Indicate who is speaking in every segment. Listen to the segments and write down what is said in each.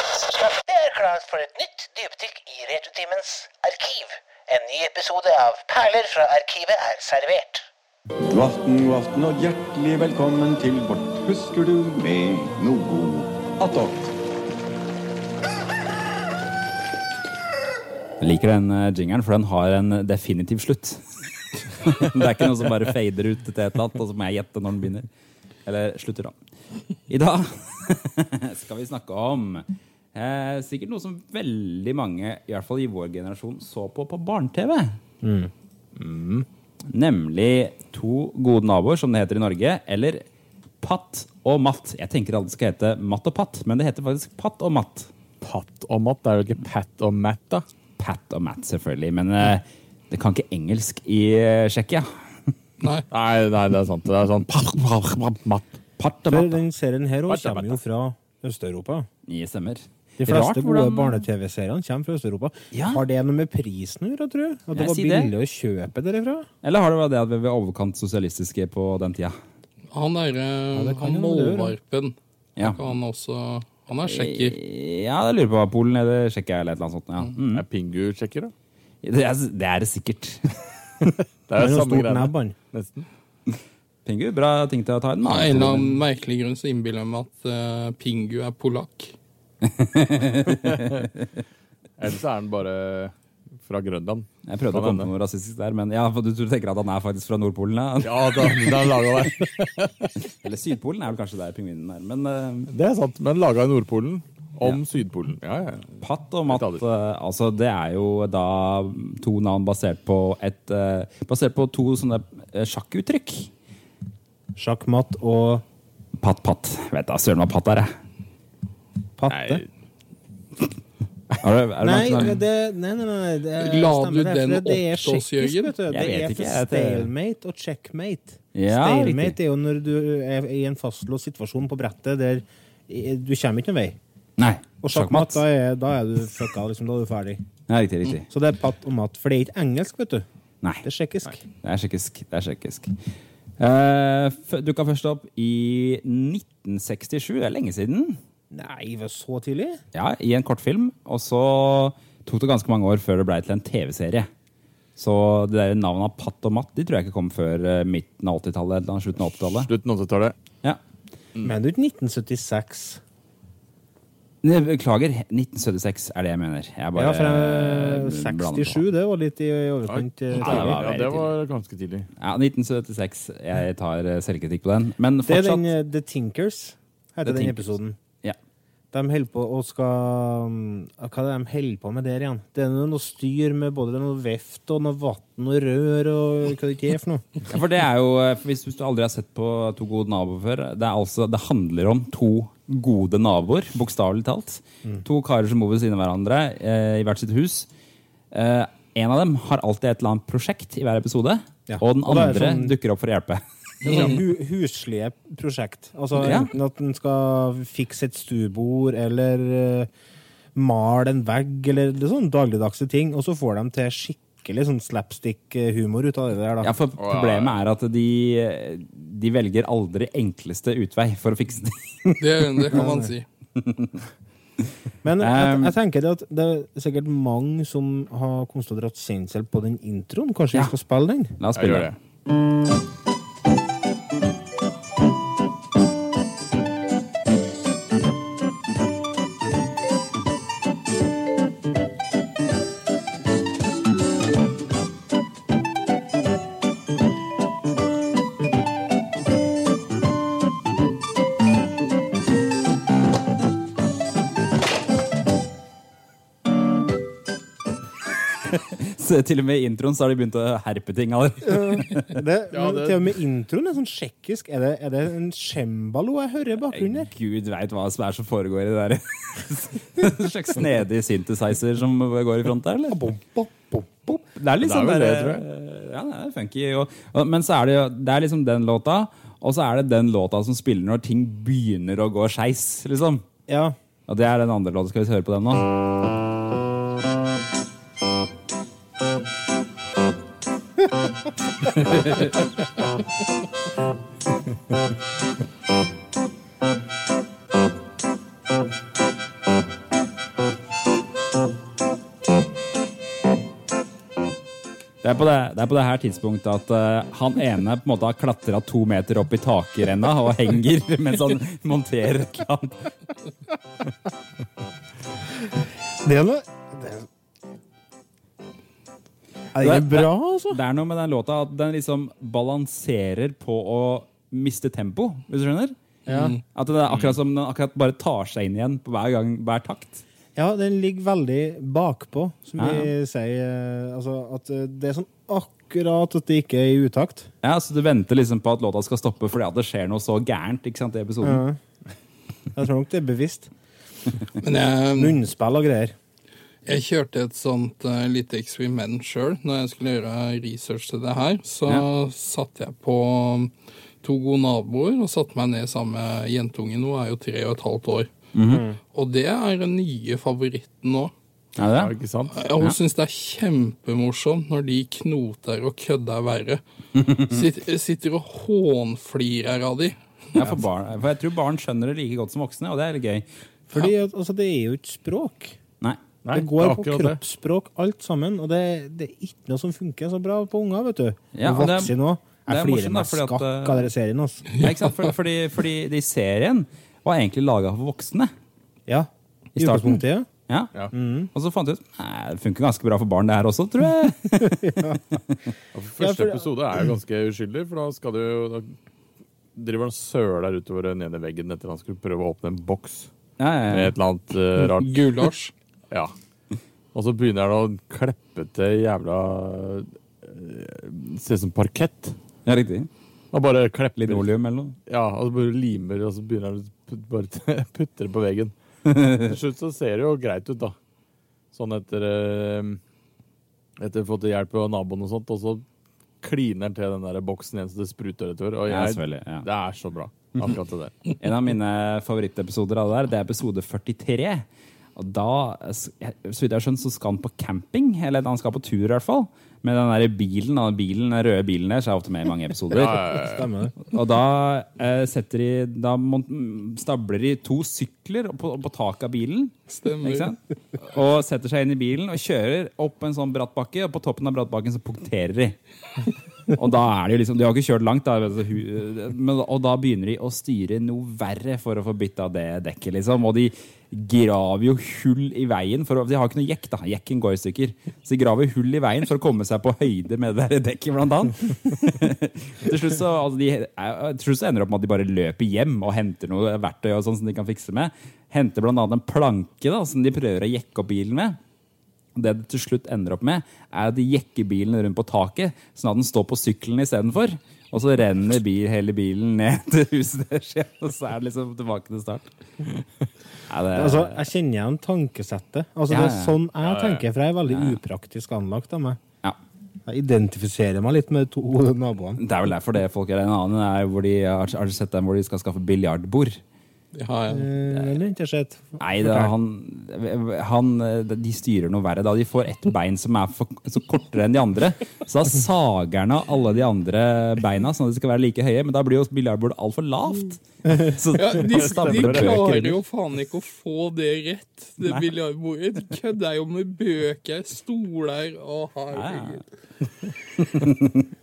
Speaker 1: Det er klart for et nytt dypdykk i Retutimens arkiv. En ny episode av Perler fra arkivet er servert.
Speaker 2: God aften, god aften og hjertelig velkommen til vårt Husker du med noe attåt.
Speaker 3: Jeg liker den eh, jingeren, for den har en definitiv slutt. det er ikke noe som bare fader ut til et eller annet, og så må jeg gjette når den begynner. Eller slutter, da. I dag skal vi snakke om eh, sikkert noe som veldig mange, i hvert fall i vår generasjon, så på på barne-TV. Mm. Nemlig To gode naboer, som det heter i Norge, eller Patt og Matt. Jeg tenker alle skal hete Matt og Patt, men det heter faktisk Patt og Matt.
Speaker 4: Pat og Matt, det er jo ikke Pat og Matt, da.
Speaker 3: Pat og Matt, selvfølgelig. Men eh, det kan ikke engelsk i eh, Tsjekkia.
Speaker 4: Nei. nei, det er sant. Det er sånn pat, pat, pat, Matt. Pat og
Speaker 5: For
Speaker 4: Matt.
Speaker 5: den serien her også
Speaker 4: Barta,
Speaker 5: kommer jo fra Øst-Europa.
Speaker 3: Ni stemmer.
Speaker 5: De fleste
Speaker 3: Rart
Speaker 5: gode
Speaker 3: hvordan-
Speaker 5: barne-TV-seriene kommer fra Øst-Europa.
Speaker 3: Ja.
Speaker 5: Har det noe med prisen å gjøre, tror du? At
Speaker 3: Jeg
Speaker 5: det var
Speaker 3: sier det.
Speaker 5: billig å kjøpe derifra?
Speaker 3: Eller har det vært det at vi var overkant sosialistiske på den tida?
Speaker 6: Han er eh,
Speaker 5: det kan
Speaker 6: han
Speaker 5: jo være det, da.
Speaker 6: målvarpen.
Speaker 3: Ja.
Speaker 6: Han også Han er sjekker.
Speaker 3: Ja, jeg lurer på hva Polen eller Tsjekkia eller et eller annet sånt. Ja. Mm.
Speaker 4: Er Pingu sjekker, da?
Speaker 3: Det, er, det er det sikkert.
Speaker 4: Det er
Speaker 5: Med
Speaker 4: jo
Speaker 5: noe
Speaker 4: samme
Speaker 5: stort
Speaker 4: greie.
Speaker 5: nebb, han.
Speaker 4: Nesten.
Speaker 3: Pingu, bra ting til å ta inn.
Speaker 6: Av
Speaker 3: da.
Speaker 6: en eller annen merkelig grunn så innbiller jeg meg at eh, Pingu er polakk.
Speaker 4: Ellers er han bare fra Grønland.
Speaker 3: Jeg prøvde å
Speaker 4: Kan
Speaker 3: komme på noe rasistisk der, men ja, for du tror- tenker at han er faktisk fra Nordpolen? Ja.
Speaker 4: Ja, da, det er laga der.
Speaker 3: Eller Sydpolen er vel kanskje der pingvinen er. Men eh,
Speaker 4: Det er sant, men laga i Nordpolen. Om Sydpolen. Ja, ja.
Speaker 3: Patt og Matt,
Speaker 4: Litt
Speaker 3: eh, altså det er jo da to navn basert på et eh, Basert på to sånne eh, sjakkuttrykk.
Speaker 5: Sjakkmatt og
Speaker 3: Patt, patt. Vet da søren hva patt er, jeg.
Speaker 5: patte.
Speaker 3: Er det, er det
Speaker 5: Nei,
Speaker 3: noen som-
Speaker 5: det, nei, nei, nei det
Speaker 6: La du
Speaker 5: stemmer det, for
Speaker 6: den
Speaker 5: det er
Speaker 6: opp til oss,
Speaker 5: tsjekkisk,
Speaker 6: Jørgen?
Speaker 5: vet du.
Speaker 3: Jeg
Speaker 5: Det
Speaker 3: vet ikke,
Speaker 5: er for
Speaker 3: jeg, det-
Speaker 5: stalemate og checkmate.
Speaker 3: Ja,
Speaker 5: stalemate
Speaker 3: riktig.
Speaker 5: er jo når du er i en fastlåst situasjon på brettet der eh, du kommer ikke noen vei.
Speaker 3: sånn- Nei.
Speaker 5: Og sjakkmatt, da er, da er du fucka, liksom. Da er du ferdig.
Speaker 3: Ja, riktig, riktig.
Speaker 5: Så det er patt og matt. For det er ikke engelsk, vet du.
Speaker 3: Nei.
Speaker 5: Det er tsjekkisk.
Speaker 3: Det er tsjekkisk. Det er tsjekkisk. Uh, Dukka først opp i 1967. Det er lenge siden.
Speaker 5: Nei, var det så tidlig?
Speaker 3: Ja, I en kortfilm. Og så tok det ganske mange år før det blei til en TV-serie. Så det der navnet Patt og Matt de tror jeg ikke kom før eh, midten av 80-tallet. eller slutten av 80-tallet.
Speaker 4: Slutten av 80-tallet.
Speaker 3: Ja.
Speaker 5: Men det er jo ikke 1976.
Speaker 3: Ne, Beklager, 1976 er det jeg mener. Jeg bare
Speaker 5: Ja, fra
Speaker 3: eh, blander på.
Speaker 5: 67, det var litt i overkant. eh,
Speaker 3: det
Speaker 5: tidlig.
Speaker 3: var
Speaker 4: Ja, det var ganske tidlig.
Speaker 3: Ja, 1976. Jeg tar eh, selvkritikk på den. Men
Speaker 5: Det er
Speaker 3: fortsatt
Speaker 5: den eh, The Tinkers, heter
Speaker 3: The
Speaker 5: den
Speaker 3: Tinkers.
Speaker 5: episoden.
Speaker 3: ja.
Speaker 5: De holder på og skal mm, Hva er det de holder på med der igjen? Det er noe styr med både noe veft og noe vann og rør og hva det ikke er for noe.
Speaker 3: Ja, For det er jo, eh, for hvis, hvis du aldri har sett på To gode naboer før, det, er altså, det handler om to gode naboer, bokstavelig talt.
Speaker 5: Mm.
Speaker 3: To karer som bor ved siden av hverandre eh, i hvert sitt hus. Eh, en av dem har alltid et eller annet prosjekt i hver episode,
Speaker 5: Ja.
Speaker 3: og den
Speaker 5: Og da er det
Speaker 3: andre
Speaker 5: sånn-
Speaker 3: dukker opp for å hjelpe.
Speaker 5: Det er sånn hu huslige prosjekt. Altså
Speaker 3: Ja.
Speaker 5: enten at en skal fikse et stuebord eller uh, male en vegg eller det er sånne dagligdagse ting, og så får de til skikkelig sånn slapstick-humor ut av det der, da.
Speaker 3: Ja, for Problemet er at de, eh, de velger aldri enkleste utvei for å fikse det.
Speaker 6: Det, det kan man si.
Speaker 5: Men jeg,
Speaker 3: Um,
Speaker 5: jeg tenker det at det er sikkert mange som har konstatert kjensel på den introen. Kanskje
Speaker 3: Ja.
Speaker 5: vi skal spille den?
Speaker 3: La oss
Speaker 4: Jeg
Speaker 3: spille.
Speaker 4: gjør det.
Speaker 3: Så til og med i introen så har de begynt å herpe ting allerede.
Speaker 5: Det,
Speaker 4: Ja,
Speaker 5: men
Speaker 4: det-
Speaker 5: Til og med introen er sånn tsjekkisk. Er det, er det en cembalo jeg hører i bakgrunnen her?
Speaker 3: Gud veit hva som er som foregår i det der. En slags snedig synthesizer som går i front der, eller? Det er litt
Speaker 4: Det er
Speaker 3: sånn der,
Speaker 4: vel det, tror
Speaker 3: Ja, det er funky. Og, og, men så er det jo Det er liksom den låta, og så er det den låta som spiller når ting begynner å gå skeis, liksom.
Speaker 5: Ja.
Speaker 3: Og det er den andre låta. Skal vi høre på den nå? Det er på det, det, er på det her tidspunktet at eh, han ene på en måte har klatra to meter opp i takrenna og henger mens han monterer et eller annet.
Speaker 5: Det er noe det er, er det ikke bra, altså?
Speaker 3: Det er noe med den låta at den liksom balanserer på å miste tempo, hvis du skjønner? Mm. At det er akkurat som den akkurat bare tar seg inn igjen på hver gang, hver takt.
Speaker 5: Ja, den ligger veldig bakpå, som
Speaker 3: Ja,
Speaker 5: vi sier. eh, Altså, at eh, det er sånn akkurat at det ikke er i utakt.
Speaker 3: Ja, så Du venter liksom på at låta skal stoppe fordi at det skjer noe så gærent ikke sant, i episoden.
Speaker 5: Ja. Jeg tror nok det er bevisst.
Speaker 6: Men jeg,
Speaker 5: Munnspill og greier.
Speaker 6: jeg kjørte et sånt eh, lite eksperiment sjøl når jeg skulle gjøre research til det her. Så satte jeg på to gode naboer og satte meg ned sammen med jentungen. Hun er jo tre og et halvt år. Og det er den nye favoritten nå.
Speaker 3: Er det
Speaker 4: Er det
Speaker 3: det?
Speaker 4: ikke sant?
Speaker 6: Ja, hun syns det er kjempemorsomt når de knoter og kødder verre. Sitt, sitter og hånflirer av de.
Speaker 3: Ja, for, barn, for jeg tror barn skjønner det like godt som voksne, og det er litt gøy.
Speaker 5: Fordi at, altså, det er jo ikke språk.
Speaker 3: Nei.
Speaker 4: Nei,
Speaker 5: det går
Speaker 4: er
Speaker 5: på
Speaker 4: akkurat det.
Speaker 5: kroppsspråk, alt sammen. Og det, det er ikke noe som funker så bra på unger, vet du.
Speaker 3: Ja,
Speaker 5: og
Speaker 3: og det er-
Speaker 5: voksne òg.
Speaker 3: det
Speaker 5: Jeg
Speaker 3: er
Speaker 5: flirer
Speaker 3: morsomt,
Speaker 5: meg
Speaker 3: da, fordi at,
Speaker 5: skakk
Speaker 3: eh,
Speaker 5: av dere serien, altså.
Speaker 3: Ja, ikke sant? For, fordi, fordi de serien var egentlig laga for voksne.
Speaker 5: Ja.
Speaker 3: I starten.
Speaker 5: utgangspunktet, ja.
Speaker 3: Ja.
Speaker 4: Ja.
Speaker 3: Og så fant jeg ut Nei, det funker ganske bra for barn, det her også, tror jeg.
Speaker 4: Og for
Speaker 5: Ja,
Speaker 4: Første
Speaker 5: for-
Speaker 4: episode er jo ganske uskyldig, for da skal du jo da driver han og søler utover ned i veggen etter han skulle prøve å åpne en boks
Speaker 3: Ja, ja,
Speaker 4: med
Speaker 3: ja.
Speaker 4: et eller annet eh, rart.
Speaker 6: Gulasj.
Speaker 4: Ja. Og så begynner han å kleppe til jævla eh, Ser ut som parkett.
Speaker 3: ja riktig.
Speaker 4: Og bare klepper
Speaker 3: Linoleum eller noe.
Speaker 4: Ja, og så bare limer, og så begynner han å put- bare putte det på veggen. Til slutt så ser det jo greit ut, da. Sånn etter eh, Etter å ha fått hjelp av naboen og sånt, og så kliner han til den der boksen igjen så det spruter utover. Og
Speaker 3: Ja,
Speaker 4: jeg,
Speaker 3: selvfølgelig, ja.
Speaker 4: Det er så bra, akkurat det der.
Speaker 3: En av mine favorittepisoder av det der, det er episode 43. Og da, så vidt jeg har skjønt, så skal han på camping, eller han skal på tur i hvert fall. Med den der bilen, den bilen, den røde bilen der, så er jeg ofte med i mange episoder.
Speaker 5: Stemmer det.
Speaker 3: Og da eh, setter de, da mon- mm, stabler de to sykler på, på taket av bilen.
Speaker 6: Stemmer.
Speaker 3: Ikke sant? Og setter seg inn i bilen og kjører opp en sånn bratt bakke, og på toppen av brattbakken så punkterer de. Og da er det jo liksom, De har ikke kjørt langt, da, altså, hu- men, og da begynner de å styre noe verre for å få bytta det dekket. liksom, Og de graver jo hull i veien, for å, de har ikke noe jekk. da, Jekken går i stykker. Så de graver hull i veien for å komme seg på høyde med det der dekket, blant annet. Til slutt så, altså, de, jeg- til slutt så ender det opp med at de bare løper hjem og henter noe verktøy og sånn som de kan fikse med. Henter blant annet en planke da, som de prøver å jekke opp bilen med. Det det til slutt ender opp med, er at de jekker bilen rundt på taket, sånn at den står på sykkelen istedenfor. Og så renner bil, hele bilen ned til huset deres, igjen, og så er det liksom tilbake til start. Ja, det,
Speaker 5: Altså, jeg kjenner igjen tankesettet. Altså,
Speaker 3: Eh. Ja,
Speaker 5: Det
Speaker 3: ja,
Speaker 5: er
Speaker 3: ja.
Speaker 5: sånn jeg tenker, for jeg er veldig upraktisk anlagt av meg.
Speaker 3: ja.
Speaker 5: Jeg identifiserer meg litt med de to naboene.
Speaker 3: det er vel derfor det folk gjør. En annen er hvor de har, har du sett dem hvor de skal skaffe biljardbord.
Speaker 6: Det har jeg.
Speaker 5: Eh, Eller ikke sett.
Speaker 3: Nei, det, er han, han, de styrer noe verre. Da de får ett bein som er for, så kortere enn de andre, så da sager han av alle de andre beina, sånn at de skal være like høye. Men da blir jo biljardbordet altfor lavt. Så
Speaker 6: Ja, de,
Speaker 3: han stabler
Speaker 6: de klarer
Speaker 3: bøker.
Speaker 6: jo faen ikke å få det rett, det biljardbordet. De kødder jo med bøker, stoler og
Speaker 4: Ah.
Speaker 6: herregud.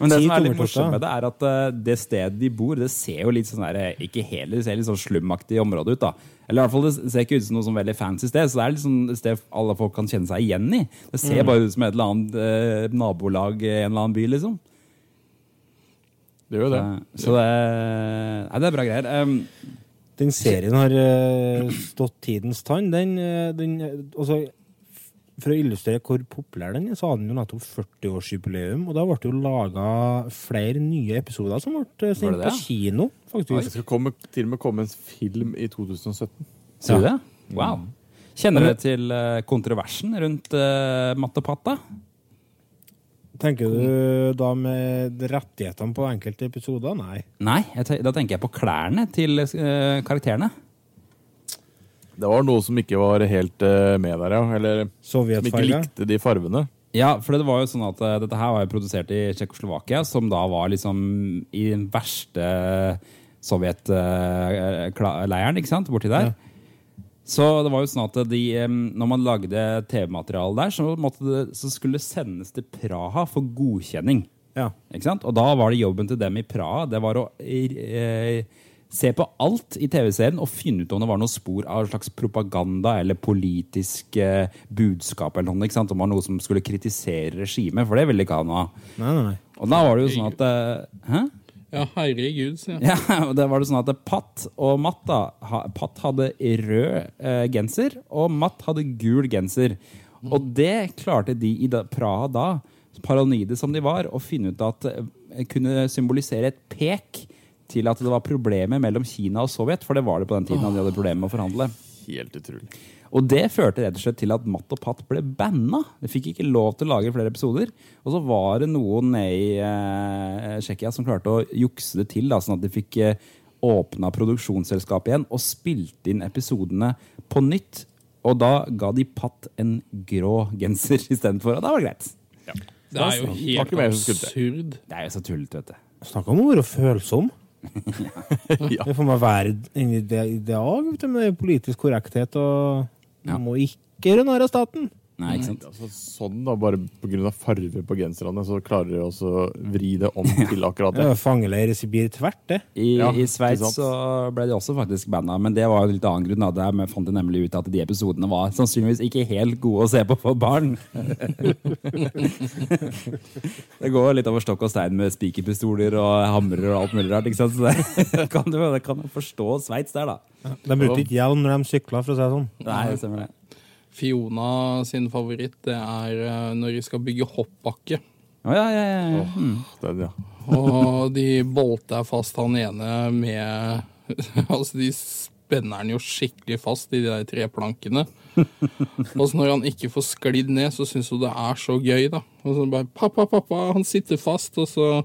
Speaker 3: Men det
Speaker 5: Ti
Speaker 3: som er litt
Speaker 5: tommeltotter.
Speaker 3: morsomt med det, er at eh, det stedet de bor, det ser jo litt sånn der, ikke hele, det ser litt sånn slumaktig område ut. da. Eller i hvert fall, det ser ikke ut som noe sånn veldig fancy sted, så det er litt sånn et sted alle folk kan kjenne seg igjen i. Det ser bare ut som et eller annet eh, nabolag i en eller annen by, liksom.
Speaker 4: Det gjør jo det.
Speaker 3: Så det, nei, det er bra greier. Em,
Speaker 5: Den serien har eh, stått tidens tann. Den, eh, den eh, altså, f- for å illustrere hvor populær den er, så hadde den jo nettopp 40-årsjubileum. Og da ble det jo laga flere nye episoder som ble
Speaker 3: Var
Speaker 5: eh, sendt
Speaker 3: det det, ja?
Speaker 5: på kino,
Speaker 4: Det
Speaker 5: faktisk.
Speaker 4: skal komme, til og med komme en film i 2017.
Speaker 3: Sier du det? Wow. Kjenner dere til eh, kontroversen rundt uh, Mattepatta?
Speaker 5: Tenker du da med rettighetene på enkelte episoder? Nei.
Speaker 3: Nei, jeg te da tenker jeg på klærne til eh, karakterene.
Speaker 4: Det var noe som ikke var helt eh, med der, ja. Eller som ikke
Speaker 5: Sovjetfarger?
Speaker 4: likte de farvene.
Speaker 3: Ja, for det var jo sånn at eh, dette her var jo produsert i Tsjekkoslovakia, som da var liksom i den eh, verste sovjetleiren, ikke sant, borti der. Så det var jo sånn at de, eh, når man lagde TV-materiale der, så, måtte det, så skulle det sendes til Praha for godkjenning.
Speaker 5: Ja.
Speaker 3: Ikke sant? Og da var det jobben til dem i Praha. Det var å eh, se på alt i TV-serien og finne ut om det var noen spor av slags propaganda eller politisk eh, budskap. eller noe, ikke sant? Om det var noe som skulle kritisere regimet, for det ville ikke han ha.
Speaker 5: Nei, nei, nei.
Speaker 3: Og da var det jo sånn at eh, Hæ?
Speaker 6: Ja, herregud, sier jeg.
Speaker 3: Ja, og det var det sånn at Patt og Matt da ha, Patt hadde rød eh, genser, og Matt hadde gul genser. Og det klarte de i da, Praha da, paranoide som de var, å finne ut at eh, kunne symbolisere et pek til at det var problemer mellom Kina og Sovjet, for det var det på den tiden de hadde problemer med å forhandle.
Speaker 4: Helt utrolig.
Speaker 3: Og det førte rett og slett til at Matt og Patt ble banna. De fikk ikke lov til å lage flere episoder. Og så var det noen nede i eh, Tsjekkia som klarte å jukse det til, da, sånn at de fikk eh, åpna produksjonsselskapet igjen og spilte inn episodene på nytt. Og da ga de Patt en grå genser istedenfor, og da var det greit.
Speaker 6: Det er jo
Speaker 4: var ikke
Speaker 6: helt
Speaker 4: mer som skulle
Speaker 6: absurd.
Speaker 3: Det er jo så tullete, vet du.
Speaker 5: Snakk om å være følsom.
Speaker 4: Ja.
Speaker 5: Det får meg være inni det i dag, vet du, med det er politisk korrekthet og
Speaker 3: Ja.
Speaker 5: Må ikke gjøre narr av staten.
Speaker 3: Nei, ikke sant?
Speaker 4: Altså, sånn da, bare pga. farve på genserne, så klarer de også å vri det om til akkurat
Speaker 5: Det
Speaker 4: det.
Speaker 5: er jo fangeleir i Sibir tvert, det.
Speaker 3: I,
Speaker 4: Ja,
Speaker 3: i Sveits
Speaker 4: ikke sant.
Speaker 3: så ble de også faktisk banna, men det var jo en litt annen grunn. Da. Der men fant de nemlig ut at de episodene var sannsynligvis ikke helt gode å se på for barn. det går jo litt over stokk og stein med spikerpistoler og hamrer og alt mulig rart. Ikke sant? Så det kan du det kan du forstå Sveits der, da.
Speaker 5: De brukte ikke hjelm når de sykla, for å si det sånn.
Speaker 3: Nei, det stemmer det.
Speaker 6: Fiona sin favoritt, det er eh, når de skal bygge hoppbakke.
Speaker 3: Å, ja, ja, ja, ja.
Speaker 4: Den, ja.
Speaker 6: Og de bolter fast han ene med Altså, de spenner han jo skikkelig fast i de der tre plankene. Og så når han ikke får sklidd ned, så syns hun det er så gøy, da. Og så bare 'Pappa, pappa, han sitter fast', og så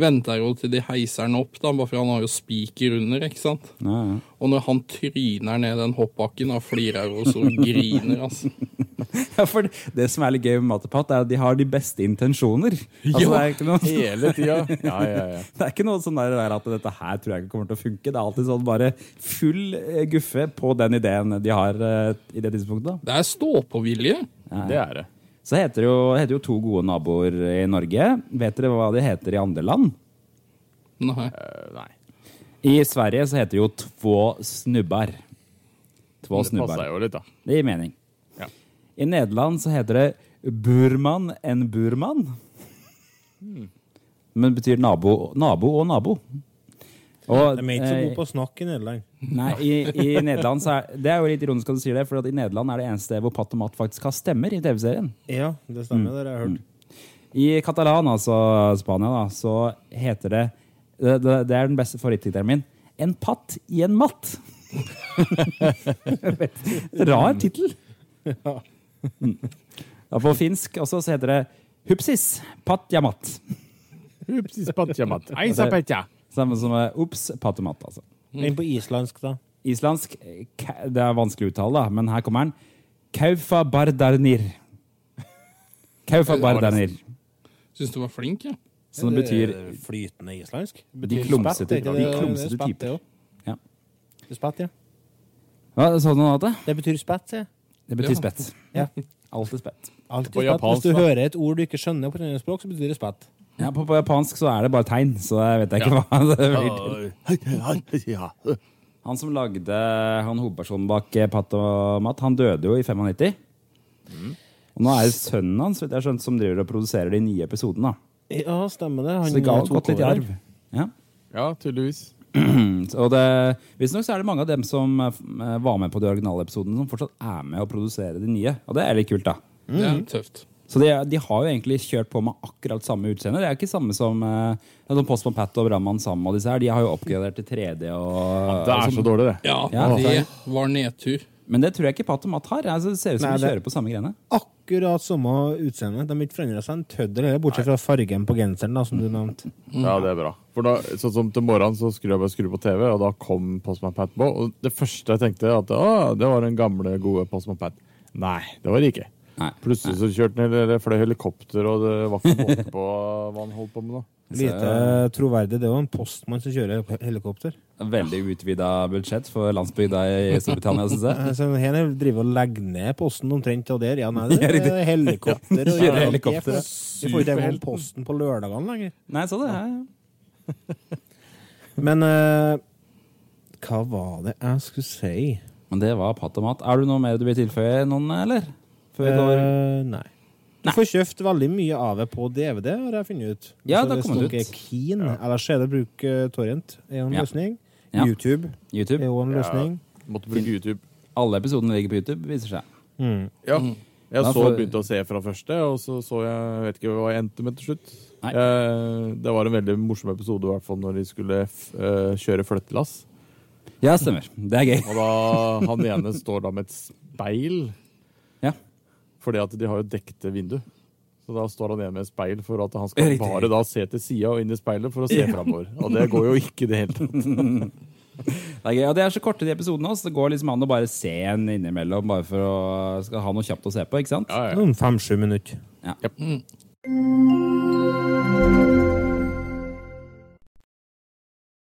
Speaker 6: venter hun til de heiser han opp, da, bare for han har jo spiker under, ikke sant.
Speaker 3: Ja, ja.
Speaker 6: Og når han tryner ned den hoppbakken, da flirer hun så hun griner, altså.
Speaker 3: Ja, for det, det som er litt gøy med Matapat, er at de har de beste intensjoner. Altså, det, er ikke noe,
Speaker 4: Hele tida. Ja, ja, ja.
Speaker 3: det er ikke noe sånn der, der at dette her tror jeg ikke kommer til å funke. Det er alltid sånn bare full eh, guffe på den ideen de har eh, i det tidspunktet. da.
Speaker 6: Det er stå-på-vilje.
Speaker 4: Det er det.
Speaker 3: Så heter det jo, heter jo To gode naboer i Norge. Vet dere hva de heter i andre land?
Speaker 6: Nei.
Speaker 3: I Sverige så heter det jo Två snubbar. Två
Speaker 4: Det passer
Speaker 3: snubbar.
Speaker 4: jo litt, da.
Speaker 3: Det gir mening.
Speaker 4: Ja.
Speaker 3: I Nederland så heter det Burman en burman.
Speaker 4: Hmm.
Speaker 3: Men betyr nabo, nabo og nabo. Og,
Speaker 5: De er ikke så
Speaker 3: eh,
Speaker 5: gode på å snakke i Nederland.
Speaker 3: Nei, i, i Nederland så er Det er jo litt ironisk at du sier det, for at i Nederland er det eneste hvor Patt og Matt faktisk har stemmer i TV-serien.
Speaker 5: Ja, det
Speaker 3: Mm.
Speaker 5: stemmer, det har jeg hørt.
Speaker 3: I Catalan, altså Spania, da, så heter det Det, det, det er den beste favoritttittelen min. En patt i en matt. Rar tittel. Ja, på finsk også så heter det Hupsis patjamat.
Speaker 4: Upsis, patja, mat. Eisa, patja.
Speaker 3: Samme som eh, Ups patomat, altså.
Speaker 5: Men på islandsk, da?
Speaker 3: Islandsk eh, ka- Det er vanskelig å uttale, da, men her kommer den. Kaufa bardarnir. Kaufa bardarnir.
Speaker 6: Syns du var flink, jeg. Ja.
Speaker 3: Som betyr
Speaker 5: Det er Eh, Flytende islandsk?
Speaker 3: De klumsete-
Speaker 5: spett, er ikke
Speaker 3: de klumsete
Speaker 5: Det er spett, det
Speaker 3: typer.
Speaker 5: også.
Speaker 3: Ja.
Speaker 5: Spett, ja.
Speaker 3: Hva sa du noe annet? da?
Speaker 5: Det betyr spett, sier jeg.
Speaker 3: Det betyr spett.
Speaker 5: Ja.
Speaker 3: Alltid spett.
Speaker 5: Alt er
Speaker 4: På
Speaker 5: spett.
Speaker 4: japansk,
Speaker 5: Hvis du
Speaker 4: da.
Speaker 5: hører et ord du ikke skjønner på et annet språk, så betyr det spett.
Speaker 3: Ja, på, på japansk så er det bare tegn, så jeg vet ikke hva det blir til.
Speaker 4: Ja.
Speaker 3: Han som lagde han hovedpersonen bak eh, Pat og Matt, han døde jo i 95. Og nå er det sønnen hans vet jeg, har skjønt, som driver og produserer de nye episodene. da.
Speaker 5: Ja, stemmer det.
Speaker 3: Så det ga
Speaker 5: tok
Speaker 3: gått litt i
Speaker 5: over.
Speaker 3: arv. Ja.
Speaker 4: ja, tydeligvis.
Speaker 3: Mm, Så det, visstnok så er det mange av dem som eh, var med på de originale episodene, som fortsatt er med å produsere de nye. Og det er litt kult, da.
Speaker 6: Det er tøft.
Speaker 3: Så de, de har jo egentlig kjørt på med akkurat samme utseende. Det er ikke samme som eh, som Postman Pat og Brannmann Sam og disse her. De har jo oppgradert til 3D og
Speaker 4: Det er så dårlig, det.
Speaker 6: Ja,
Speaker 3: Ja.
Speaker 6: det var nedtur.
Speaker 3: Men det tror jeg ikke Pat og Matt har. Altså, det ser ut som
Speaker 5: Nei,
Speaker 3: de
Speaker 5: det-
Speaker 3: kjører på samme greiene.
Speaker 5: Akkurat samme utseende. De har ikke forandra seg en tøddel, heller, bortsett fra fargen på genseren, da, som du nevnte.
Speaker 3: Mm.
Speaker 4: Ja, det er bra. For da, sånn som Til morgenen så skulle jeg bare skru på TV, og da kom Postman Pat på. Og det første jeg tenkte, at å, det var den gamle, gode Postman Pat. Nei, det var det ikke.
Speaker 3: Nei.
Speaker 4: Plutselig så kjørte han eller fløy helikopter, og det var ikke måte på hva han holdt på med. da.
Speaker 5: Lite troverdig. Det er jo en postmann som kjører helikopter.
Speaker 3: Veldig utvida budsjett for landsbygda i Storbritannia, syns jeg.
Speaker 5: Eh, Så her driver og legger ned posten omtrent og der. Ja, nei, det er helikopter. og-
Speaker 3: Kjører helikopter, ja.
Speaker 5: Vi får ikke engang posten på lørdagene lenger.
Speaker 3: Nei, så det er ja.
Speaker 5: Men eh, hva var det jeg skulle si?
Speaker 3: Men det var patt og mat. Er du noe mer du vil tilføye noen, eller? Før vi går
Speaker 5: Eh, nei. Du får kjøpt veldig mye av det på DVD, har jeg funnet ut.
Speaker 3: Ja,
Speaker 5: Så
Speaker 3: det har
Speaker 5: hvis
Speaker 3: kommet ut.
Speaker 5: dere er keen, Ellers er det bruk eh, Torrent. er jo en
Speaker 3: Ja.
Speaker 5: løsning.
Speaker 3: Ja.
Speaker 5: YouTube er
Speaker 3: YouTube.
Speaker 5: jo en løsning.
Speaker 4: Måtte bruke YouTube.
Speaker 3: Alle episodene ligger på YouTube, viser seg.
Speaker 4: Ja. Jeg
Speaker 3: Da
Speaker 4: så
Speaker 3: får-
Speaker 4: begynte å se fra første, og så så jeg vet ikke hva jeg endte med til slutt.
Speaker 3: Nei.
Speaker 4: Eh, det var en veldig morsom episode, i hvert fall når de skulle f eh, kjøre flyttelass.
Speaker 3: Ja, stemmer. Det er gøy.
Speaker 4: Og da han ene står da med et speil,
Speaker 3: Ja.
Speaker 4: fordi at de har jo dekte vindu. Så da står han igjen med et speil for at han
Speaker 3: Riktig.
Speaker 4: skal bare da se til sida og inn i speilet for å se framover. Og det går jo ikke i det hele tatt.
Speaker 3: Det er gøy. Og det er så korte de episodene også. Det går liksom an å bare se en innimellom, bare for å skal ha noe kjapt å se på, ikke sant?
Speaker 4: Ja, ja.
Speaker 5: Noen fem-sju minutter.
Speaker 3: Ja.